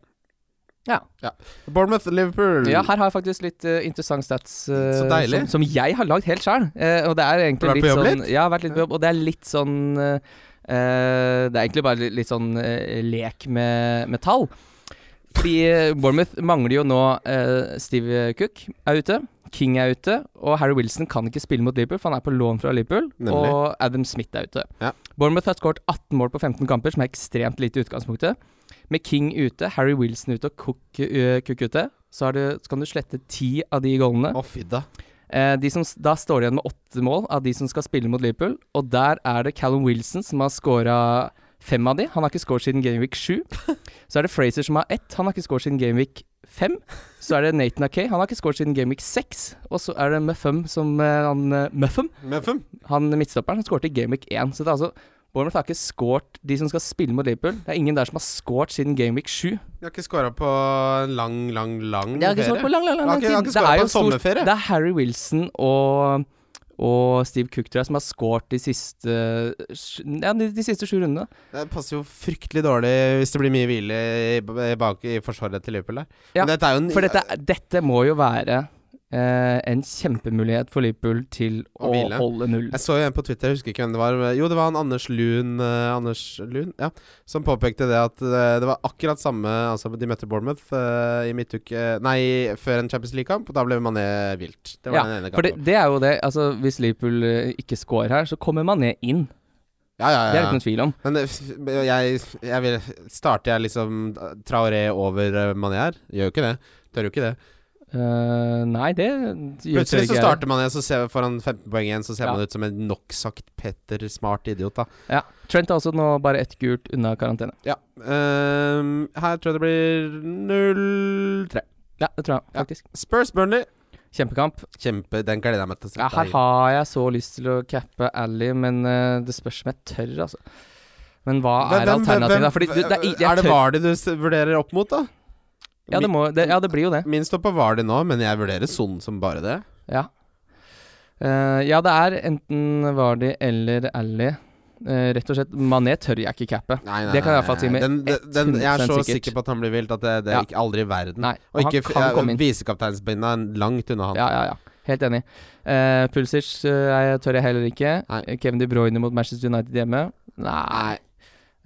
Ja.
Bournemouth, Liverpool.
ja, her har jeg faktisk litt eh, interessant stats eh,
Så deilig.
Som, som jeg har lagd helt sjøl. og det er
Har
egentlig
du vært
litt
på jobb
sånn Ja, jeg har vært litt på jobb, og det er litt sånn eh, eh, Det er egentlig bare litt, litt sånn eh, lek med, med tall. Fordi eh, Bournemouth mangler jo nå eh, Steve Cook er ute. King er ute, og Harry Wilson kan ikke spille mot Liverpool, for han er på lån fra Liverpool.
Nemlig.
Og Adam Smith er ute.
Ja.
Bournemouth har skåret 18 mål på 15 kamper, som er ekstremt lite i utgangspunktet. Med King ute, Harry Wilson ute og Cook, øh, Cook ute, så, har du, så kan du slette ti av de goalene.
Å, fy da.
Eh, de som, s- da står det igjen med åtte mål av de som skal spille mot Liverpool, og der er det Callum Wilson som har scora fem av de. Han har ikke scoret siden Gameweek 7. Så er det Fraser som har ett, han har ikke scoret siden Gameweek 5. Så er det Nathan Akay, han har ikke scoret siden Gameweek 6. Og så er det Muffum som eh, han, eh, Muffum,
Muffum.
han midtstopperen, som skåret i Gameweek 1. Så det er altså Bournemouth har ikke scoret de som skal spille mot Liverpool. Det er ingen der som har scoret siden Gameweek 7.
De har ikke scora på en lang, lang, lang
Jeg har ikke svart på lang, lang, lang,
Jeg har
lang
ikke- jeg
tid.
har ikke
Det
svart
er
på
jo
en sommerferie.
Det er Harry Wilson og, og Steve Cook, tror jeg, som har scoret de siste sj- Ja, de, de siste sju rundene.
Det passer jo fryktelig dårlig hvis det blir mye hvile i, b- bak i forsvaret til Liverpool der.
Ja,
Men dette er jo en
For dette, er- dette må jo være eh, en kjempemulighet for Liverpool til
Å
å,
hvile.
holde null.
Jeg så jo en på Twitter, jeg husker ikke hvem det var. men- Jo, det var han Anders Lund, eh, Anders Lund ja, som påpekte det at eh, det var akkurat samme Altså, de møtte Bournemouth eh, i midtuke Nei, før en Champions League-kamp, og da ble Mané vilt. Det var
Ja,
den ene
For det,
kampen.
det er jo det. Altså, hvis Liverpool eh, ikke scorer her, så kommer Mané inn.
ja, ja, ja.
Det er det ikke noen tvil om.
Men eh, f- jeg, jeg vil Starter jeg liksom eh, Traoré over eh, Mané her? Gjør jo ikke det. Tør jo ikke det.
Eh, nei, det gjør
Plutselig
ikke
så
jeg.
starter Mané, så ser, får han 15 poeng igjen, så ser
Ja.
man ut som en noksagt Petter smart idiot, da.
Ja. Trent er også nå bare ett gult unna karantene.
Ja. ehm, her tror jeg det blir 0-3.
Ja, det tror jeg
Ja.
faktisk.
Spurs Burnley.
Kjempekamp.
Kjempe, den gleder jeg meg til å
Ja,
sette
her
i.
har jeg så lyst til å cappe Ally, men eh, det spørs om jeg tør, altså. Men hva
Hvem-
er
hvem- hvem-
alternativet, da? Fordi du, det er, i- jeg
er det
tør-
Vardy du s- vurderer opp mot, da?
Ja det, må, det, ja, det blir jo det.
Min står på Vardy nå, men jeg vurderer Son som bare det.
Ja. Eh, ja, det er enten Vardi eller Ally. Eh, rett og slett, Mané tør jeg ikke cappe.
Nei, nei,
Det kan jeg i
nei,
hvert fall si
nei.
med
den, den, den, Jeg er så
100% sikkert.
sikker på at han blir vilt at det, det er
Ja.
ikke aldri i verden.
Nei,
Og
han
ikke
kan komme inn.
visekapteinsbindet er langt unna han.
Ja, ja, ja. Helt enig. Uh, Pulsic eh, jeg tør jeg heller ikke. Eh,
Nei.
Kevin De Bruyne mot Manchester United hjemme. Nei.
Nei.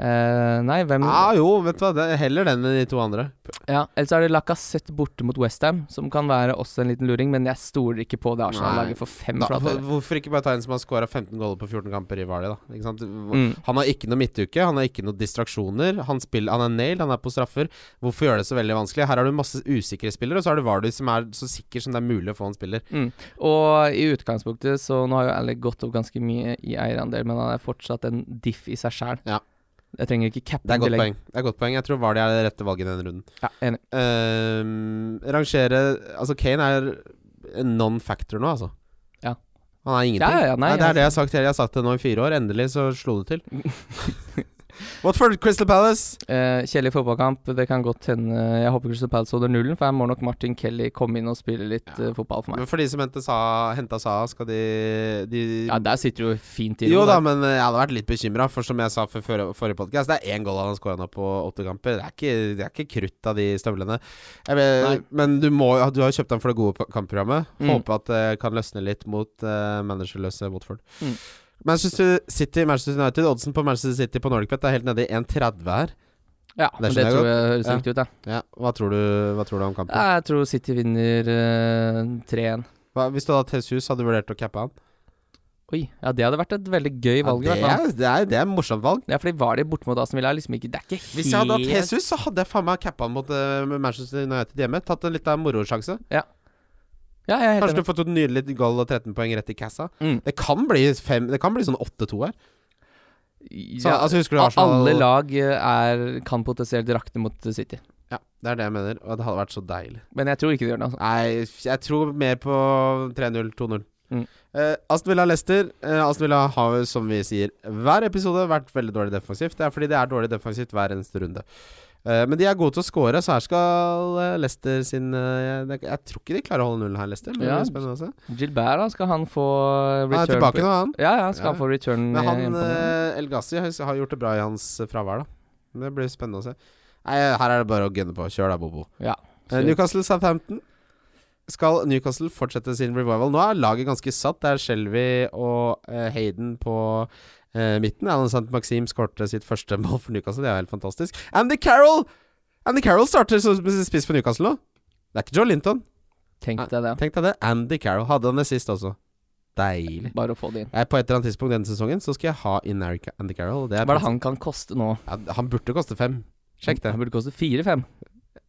Eh, nei, hvem
Ah, jo, vet du hva. Det er heller den enn de to andre.
Ja, Ellers er det Lacassette borte mot Westham, som kan være også en liten luring, men jeg stoler ikke på det
Nei.
Arsenal-laget for fem
Da,
flate
hvor- hvorfor ikke bare ta en som har scora 15 goller på 14 kamper i Vardy, da? Ikke sant? Hvor-
Mm.
Han har ikke noe midtuke, han har ikke noen distraksjoner. Han, spill, han er nailed, han er på straffer. Hvorfor gjøre det så veldig vanskelig? Her har du masse usikre spillere, og så har du Vardy som er så sikker som det er mulig å få en spiller.
Og i utgangspunktet, så nå har jo Alec gått opp ganske mye i eierandel, men han er fortsatt en diff i seg sjæl.
Ja.
Jeg trenger ikke cappe
Det er
den
godt
til lenge.
poeng. Det er godt poeng. Jeg tror Vardy er det rette valget i denne runden.
Ja, enig.
Ehm, rangere Altså, Kane er en non-factor nå, altså.
Ja.
Han er ingenting.
Ja, ja, ja, nei,
det
altså-
er det jeg har sagt hele Jeg har sagt det nå i fire år. Endelig så slo det til. Watford, Crystal Palace.
Eh, kjedelig fotballkamp. Det kan godt hende Jeg håper Crystal Palace holder nullen, for her må nok Martin Kelly komme inn og spille litt
Ja.
eh, fotball for meg.
Men for de som henta Sa, henta Sa skal de, de
Ja, der sitter du fint i
Jo
ro,
da, men eh, jeg hadde vært litt bekymra, for som jeg sa for før, forrige podkast, det er én goal han har skåra nå på åtte kamper. Det er ikke, det er ikke krutt av de støvlene. Jeg vet, men du, må, jo- du har jo kjøpt ham for det gode kampprogrammet.
Mm.
Håper at det kan løsne litt mot eh, managerløse Watford.
Mm.
Manchester City, Manchester United. Oddsen på Manchester City på Nordicbet er helt nede i 1,30 her.
Ja,
Det
men
skjønner
det
jeg
tror jeg høres
Ja.
riktig ut, ja.
Ja, hva tror du, hva tror du om kampen?
Jeg tror City vinner eh, 3-1.
Hva, hvis du hadde hatt Jesus, hadde du vurdert å cappe han?
Oi, ja det hadde vært et veldig gøy valg. i
ja,
hvert
det,
fall.
er, det, er, det er et morsomt valg.
Ja, fordi var de borte mot Aston Villa? er Liksom ikke, det er ikke helt
Hvis jeg hadde hatt Jesus, så hadde jeg faen meg cappa han mot eh, Manchester United hjemme. Tatt en liten morosjanse.
Ja, jeg er helt
Kanskje
enig.
du fått et nydelig goal og 13 poeng rett i kassa.
Mm.
Det kan bli, fem, det kan bli sånn 8-2 her. Så,
Ja,
altså, husker du
al-
Arsenal
alle lag eh, er, kan potensielt rakne mot eh, City.
Ja, det er det jeg mener. Og det hadde vært så deilig.
Men jeg tror ikke de gjør det. altså
Nei, jeg tror mer på 3-0, 2-0.
Mm.
Eh, Aston Villa Leicester. Eh, Aston Villa har, jo, som vi sier hver episode, vært veldig dårlig defensivt. Det er fordi det er dårlig defensivt hver eneste runde. Eh, men de er gode til å score, så her skal eh, Leicester sin eh, det, Jeg tror ikke de klarer å holde nullen her, Leicester. Men
Ja.
det blir spennende å se.
Gilbert, da, skal han få eh, return
Han er tilbake nå, han.
Ja, ja, han skal
Ja.
få return.
Men
i-
han
på den.
eh, El Gassi har, har gjort det bra i hans eh, fravær, da. Det blir spennende å se. Nei, her er det bare å gunne på. Kjør da, Bobo.
ja.
Eh, Newcastle Southampton. Skal Newcastle fortsette sin revival? Nå er laget ganske satt. Det er Shelby og eh, Hayden på eh, midten. Alan St. Maxim skårte sitt første mål for Newcastle. Det er jo helt fantastisk. Andy Carroll! Andy Carroll starter som spiss for Newcastle nå. Det er ikke Joe Linton.
Tenk deg det.
Tenk deg det. Andy Carroll. Hadde han det sist også. Deilig.
Bare å få det inn.
Jeg, på et eller annet tidspunkt denne sesongen så skal jeg ha inn Eric- Andy Carroll. Det er
Hva er det han kan koste nå?
Ja, han burde koste fem. Sjekk det.
Han burde koste 4-5.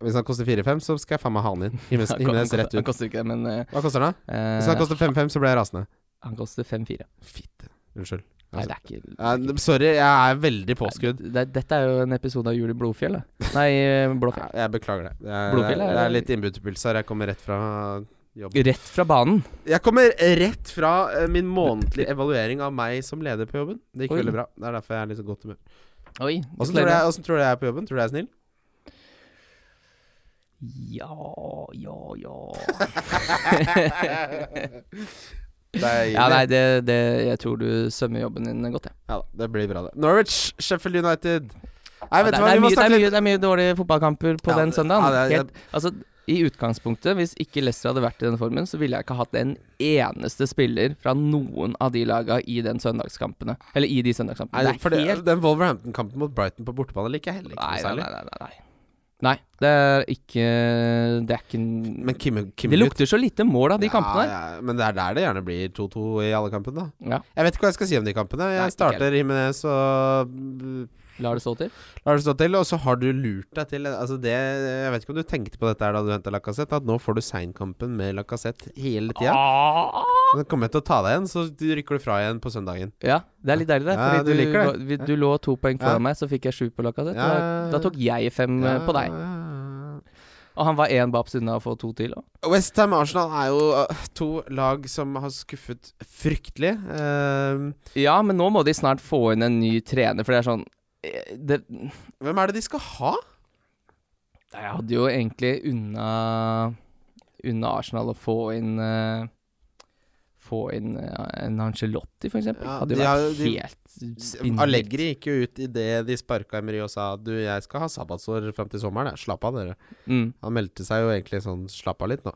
Hvis han koster fire-fem, så skal jeg faen meg ha han inn. Himmels,
Han,
himmels
han,
rett ut.
koster ikke det, men eh,
Hva koster han, da? Hvis
eh,
han koster 5-5, så blir jeg rasende.
han koster 5-4.
Fitte. Unnskyld.
Nei,
Altså,
det er ikke det
Ja,
er ikke-
n- sorry, jeg er veldig påskudd.
Nei, det, dette er jo en episode av Jul i Blodfjell. da. Nei, eh, Blåfjell.
Ja, Jeg beklager det. Jeg,
Blodfjell
jeg,
er-
er litt innbudspils her. Jeg kommer rett fra jobb.
Rett fra banen.
Jeg kommer rett fra eh, min månedlige evaluering av meg som leder på jobben. Det gikk
Oi.
veldig bra. Det er derfor jeg er litt så godt humør.
Oi.
Åssen tror, du jeg- hvordan tror du jeg er på jobben? Tror du jeg er snill?
Ja, ja, ja
Deilig.
Ja, nei, det, det Jeg tror du sømmer jobben din godt, jeg.
Ja da, det blir bra, det. Norwich, Sheffield United. Nei,
Ja,
vet
det,
du
det,
hva,
er
vi
mye,
må
det, er mye,
snakke litt
det er mye dårlige fotballkamper på
Ja,
den
det-
søndagen.
ja, det er-
Helt, altså, I utgangspunktet, hvis ikke Leicester hadde vært i den formen, så ville jeg ikke hatt en eneste spiller fra noen av de laga i den søndagskampene. Eller i de søndagskampene.
Nei, for
det
det,
er helt
Den Wolverhampton-kampen mot Brighton på bortebane liker jeg heller ikke
nei,
noe
nei,
særlig.
nei, nei, nei. Nei, det er ikke Det er ikke
Men Kim, Kim
Det lukter så lite mål av de kampene der.
Ja, ja, men det er der det gjerne blir 2-2 i alle kampene, da.
Ja,
Jeg vet ikke hva jeg skal si om de kampene. Jeg
Nei, ikke
starter Jimenez og mm,
lar det stå til.
lar det stå til, og så har du lurt deg til Altså det Jeg vet ikke om du tenkte på dette her da du henta Lacassette, at nå får du seinkampen med Lacassette hele tida.
Ah!
Men kommer jeg til å ta deg igjen, så rykker du fra igjen på søndagen.
Ja, det er litt deilig, det.
Ja,
Fordi
du
du,
liker det.
var- vi- du lå to poeng
Ja.
foran meg, så fikk jeg sju på Lacassette.
Ja, ja,
Da,
ja.
da tok jeg fem eh, på deg. Og han var én baps unna å få to til. og-
Westham Arsenal er jo øh, to lag som har skuffet fryktelig. Ehm,
Ja, men nå må de snart få inn en ny trener, for det er sånn eh, det,
hvem er det de skal ha?
Jeg hadde jo egentlig unna Unna Arsenal å få inn eh, Få inn eh, en Angelotti, for eksempel.
Ja,
hadde jo
de har
vært
jo- de-
helt spinnvilt.
Allegri gikk jo ut idet de sparka Emery og sa du, jeg skal ha sabbatsår fram til sommeren. jeg. Slapp av, dere.
Mm.
Han meldte seg jo egentlig sånn Slapp av litt nå.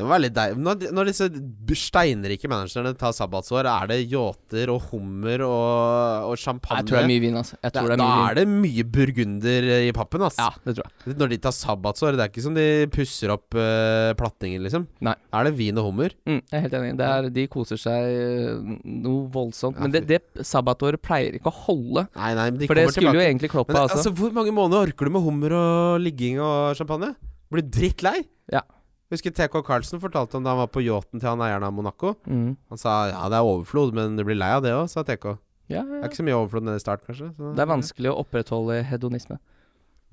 Det var litt deilig. Når, når disse b- steinrike managerne tar sabbatsår, er det yachter og hummer og, og
Jeg
champagne.
tror det er mye vin, altså. Jeg tror det er
da
mye vin.
er det mye burgunder i pappen, ass.
Ja, det tror jeg.
Når de tar sabbatsår, det er ikke som de pusser opp eh, plattingen, liksom.
Nei.
Da er det vin og hummer.
Mm, jeg er helt enig. Det er, de koser seg eh, noe voldsomt.
Ja,
Men det, det sabbatåret pleier ikke å holde.
Nei, nei, men de
For det
kommer
skulle jo
tilbake.
egentlig Klopp
Men
ha,
det,
altså.
altså, hvor mange måneder orker du med hummer og ligging og champagne? Blir drittlei.
Ja.
Husker TK Carlsen fortalte om da han var på yachten til han eieren av Monaco.
Mm.
Han sa ja, det er overflod, men du blir lei av det òg, sa TK.
Ja,
Det
ja.
er ikke så mye overflod nede i start, kanskje. Så,
Det er vanskelig å opprettholde hedonisme.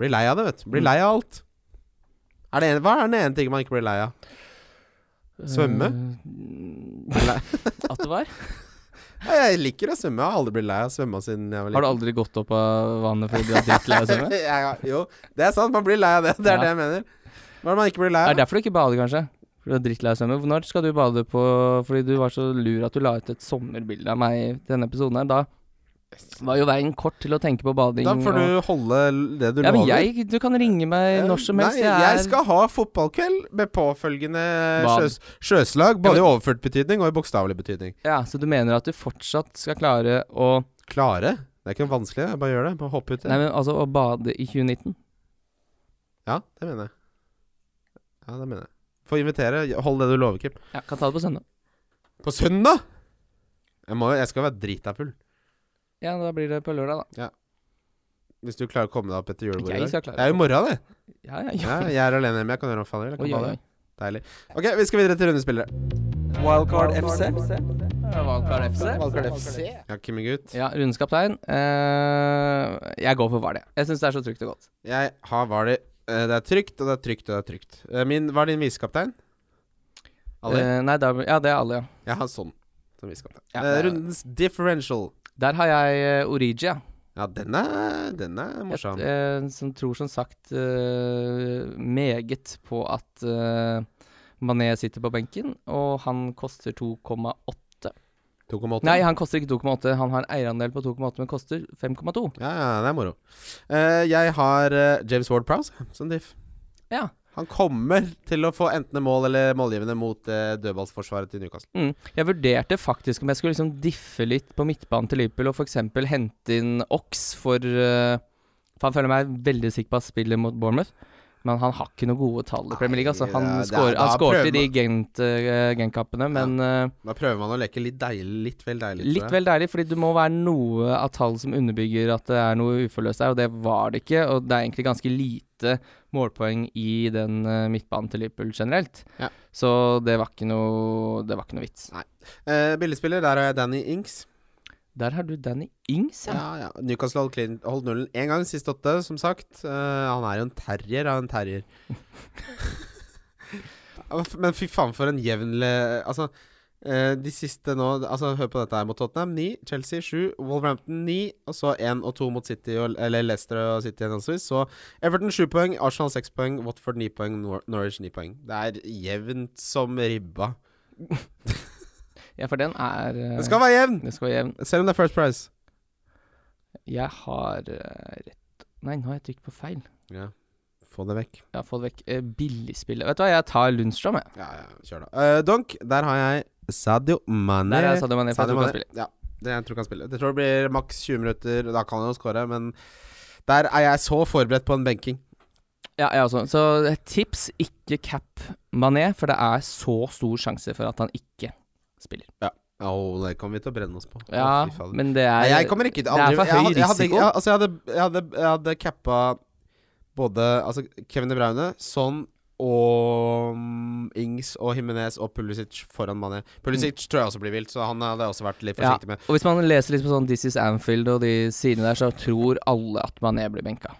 Blir lei av det, vet du. Blir lei
Mm.
av alt. Er det en, hva er den ene tingen man ikke blir lei av? Svømme?
Eh, At det var?
Ja, Jeg liker å svømme. Jeg har aldri blitt lei av å svømme siden jeg
Har
var
du
liten.
aldri gått opp av vannet fordi du er drittlei av å svømme?
ja, ja, jo, det er sant. Man blir lei av det. Det er
Ja.
det jeg mener. Hva er det man ikke blir lei
Er
av?
det derfor du ikke bader, kanskje? Fordi du er drittlei av å svømme? Når skal du bade på Fordi du var så lur at du la ut et sommerbilde av meg i denne episoden her. Da Var jo veien kort til å tenke på bading.
Da får
og-
du holde det du
ja, men
lover.
jeg, Du kan ringe meg når som helst.
Nei, jeg, skal ha fotballkveld med påfølgende
Bad.
sjøs, sjøslag.
Ja,
Både
men-
i overført betydning og i bokstavelig betydning.
Ja, Så du mener at du fortsatt skal klare å
Klare? Det er ikke noe vanskelig. Jeg bare gjør det. Bare hopp uti.
Nei, men altså å bade i 2019?
Ja, det mener jeg. Ja, det mener jeg. Få invitere. Hold det du lover, Kim.
Ja, Kan ta det på søndag.
På søndag?! Jeg, må, jeg skal være drita full.
Ja, Da blir det på lørdag, da.
Hvis du klarer å komme deg opp etter julebordet.
Jeg
i dag.
skal klare
Det er jo i morgen, det.
Ja, ja,
Ja,
ja.
jeg er alene hjemme. Jeg kan gjøre hva faen jeg vil. Jeg kan
Oi, oi,
bade.
oi.
Deilig. Ok, vi skal videre til rundespillere.
Wildcard FC.
Valgkart FC.
Wildcard FC.
Ja, Kim og gutt.
Ja, rundens kaptein. Eh, jeg går for Vardø. Jeg syns det er så trygt og godt.
Jeg har Vali. Eh, Det er trygt, og det er trygt, og det er trygt. Eh, Min, hva er din visekaptein? Ali?
Eh, nei, da, ja, det er alle, ja.
Jeg har sånn som visekaptein.
Ja,
Eh,
det er-
Rundens differential.
Der har jeg uh, Origia.
Ja, den er, den er morsom.
eh, som tror som sagt eh, meget på at eh, Mané sitter på benken, og han koster 2,8.
2,8.
Nei, han koster ikke 2,8. Han har en eierandel på 2,8, men koster 5,2.
Ja, ja, det er moro. Eh, jeg har eh, James Ward Prowse som diff.
Ja.
Han kommer til å få enten en mål eller målgivende mot eh, dødballsforsvaret til Newcastle.
Mm. Jeg vurderte faktisk om jeg skulle liksom diffe litt på midtbanen til Liverpool og f.eks. hente inn Ox for eh, For han føler meg veldig sikker på at spiller mot Bournemouth. Men han har ikke noen gode tall i Premier League. Altså. Han
Nei, det er-
skår-
da
han skårte i
prøver
de
man-
gent, eh, Gent-kampene, men eh,
Da prøver man å leke litt deilig, litt vel deilig. tror
litt
jeg.
vel deilig, fordi det må være noe av tall som underbygger at det er noe uforløst der, og det var det ikke. Og det er egentlig ganske lite målpoeng i den eh, midtbanen til Liverpool generelt.
Ja.
Så det var ikke noe, det var ikke noe vits.
Eh, billigspiller, der har jeg Danny Ings.
Der har du Danny Ings, ja.
Ja, ja. Newcastle holdt, clean, holdt nullen én gang, siste åtte, som sagt. Eh, han er jo en terrier av en terrier. Ja, f- Men fy faen, for en jevn le- Altså, eh, de siste nå Altså, Hør på dette her mot Tottenham. Ni, Chelsea sju, Wolverhampton ni, og så én og to mot City og, Eller Leicester og City henholdsvis. Så Everton sju poeng, Arsenal seks poeng, Watford ni poeng, Nor Norwich ni poeng. Det er jevnt som ribba.
Ja, for den er eh,
Det skal være jevn!
den skal være jevn.
Selv om det er first price.
Jeg har eh, rett Nei, nå har jeg trykket på feil.
Ja. Få det vekk.
Jeg har fått vekk eh, billigspillet. Vet du hva, jeg tar Lundstrøm, jeg.
Ja, ja, kjør da. Eh, Donk, der har jeg Sadio Mane.
Der er Sadio Mané, for jeg tror ikke han spiller.
Ja, det jeg tror ikke han spiller. Det tror jeg blir maks 20 minutter, og da kan han jo score, men der er jeg så forberedt på en benking.
Ja, jeg også. Så eh, tips, ikke cap Mané, for det er så stor sjanse for at han ikke spiller.
Å, det kommer vi til å brenne oss på. Å,
Ja,
fy fader.
men det er
Nei, jeg kommer ikke til
det er
aldri
for
jeg
høy
hadde- jeg hadde-
risiko.
Jeg, altså, jeg hadde, jeg hadde, jeg hadde cappa både altså, Kevin De Bruyne, Son og mm, Ings og Jimenez og Pulisic foran Mané. Pulisic tror jeg også blir vilt, så han hadde jeg også vært litt
Mm. Ja,
forsiktig med.
Og hvis man leser litt på sånn This is Anfield og de sidene der, så tror alle at Mané blir benka.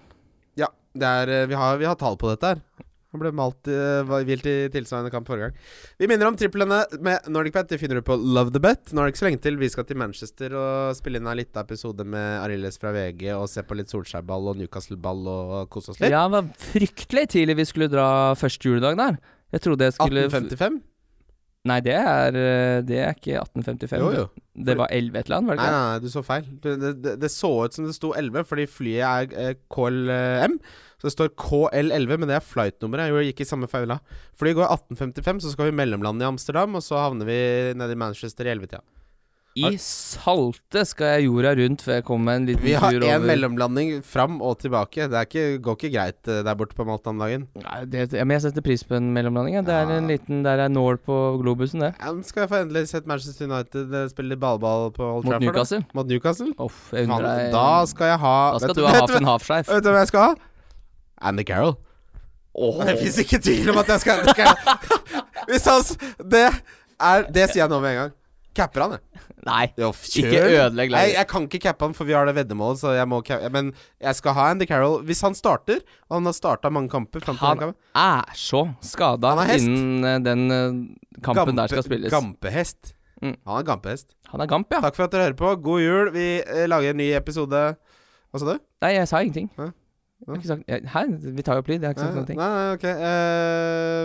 Ja, det er, eh, vi, har, vi har tall på dette her. Han ble malt eh, var vilt i tilsvarende kamp forrige gang. Vi minner om triplene med NordicBet. De finner du på Love the Bet. Nå er det ikke så lenge til vi skal til Manchester og spille inn en liten episode med Arildes fra VG og se på litt Solskjær-ball og Newcastle-ball og kose oss litt.
Ja, det var fryktelig tidlig vi skulle dra første juledag der. Jeg trodde jeg skulle
1855?
Nei, det er, eh, det er ikke 1855.
Jo, jo.
Det var 11 et eller annet, var
Nei,
det
nei,
ikke?
nei, du så feil. Det, det, det, det så ut som det sto 11, fordi flyet er eh, KLM. Så det står KL11, men det er flightnummeret. Jeg gikk i samme feila. Flyet går 1855, så skal vi mellomlande i Amsterdam, og så havner vi nede i Manchester i 11-tida.
I salte skal jeg jorda rundt før jeg kommer en liten
Vi har
tur
én
over.
mellomlanding fram og tilbake. Det er ikke, går ikke greit eh, der borte på Malta om dagen.
Nei, det, ja, men jeg setter pris på en mellomlanding. Ja. Det er
Ja.
en liten Der er nål på globusen, det.
Ja, men skal jeg få endelig sett Manchester United eh, spille ballball på Old
Mot
Trafford? da?
Newcastle.
Mot Newcastle?
Uff, jeg
Faen,
undrer deg
da skal jeg ha
Da skal
vet
du ha
vet,
Hafen Hafskjeif.
vet du hvem jeg skal ha? Andy Carroll. Det fins ikke tvil om at jeg skal Andy Carroll. Hvis han s- Det er Det sier jeg nå med en gang. Capper han, jeg.
Nei,
Jo, kjør.
ikke ødelegg
Nei,
laget.
jeg kan ikke cappe han, for vi har det veddemålet, så jeg må ca- Men jeg skal ha Andy Carroll hvis han starter. Og han har starta mange kamper. frem til den
Han
kampen.
er så skada
Han er hest.
innen eh, den eh, kampen der skal spilles.
Gampehest.
Mm.
Han er gampehest.
Han er gamp, ja.
Takk for at dere hører på. God jul. Vi eh, lager en ny episode Hva sa du?
Nei, jeg sa ingenting.
Hæ?
Jeg har ikke sagt
Eh,
jeg- Hæ? Vi tar jo opp lyd. Jeg har ikke sagt noen ting.
nei, nei, ok. Eh,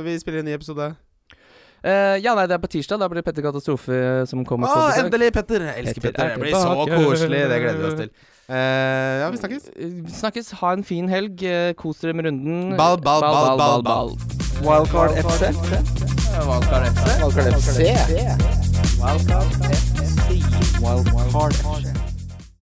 vi spiller en ny episode.
Eh, ja, nei, det er på tirsdag. Da blir det Petter Katastrofe eh, som kommer
Å,
på besøk.
endelig, Petter! Jeg elsker
Petter
Petter.
er
Det blir så
tilbake.
koselig. Det gleder vi oss til. Eh, ja, vi snakkes.
Eh, Snakkes. Ha en fin helg. Eh, Kos dere med runden.
Ball, ball, ball, ball, ball.
Wildcard FC.
Valgkar FC.
Wildcard FC. Wildcard FC.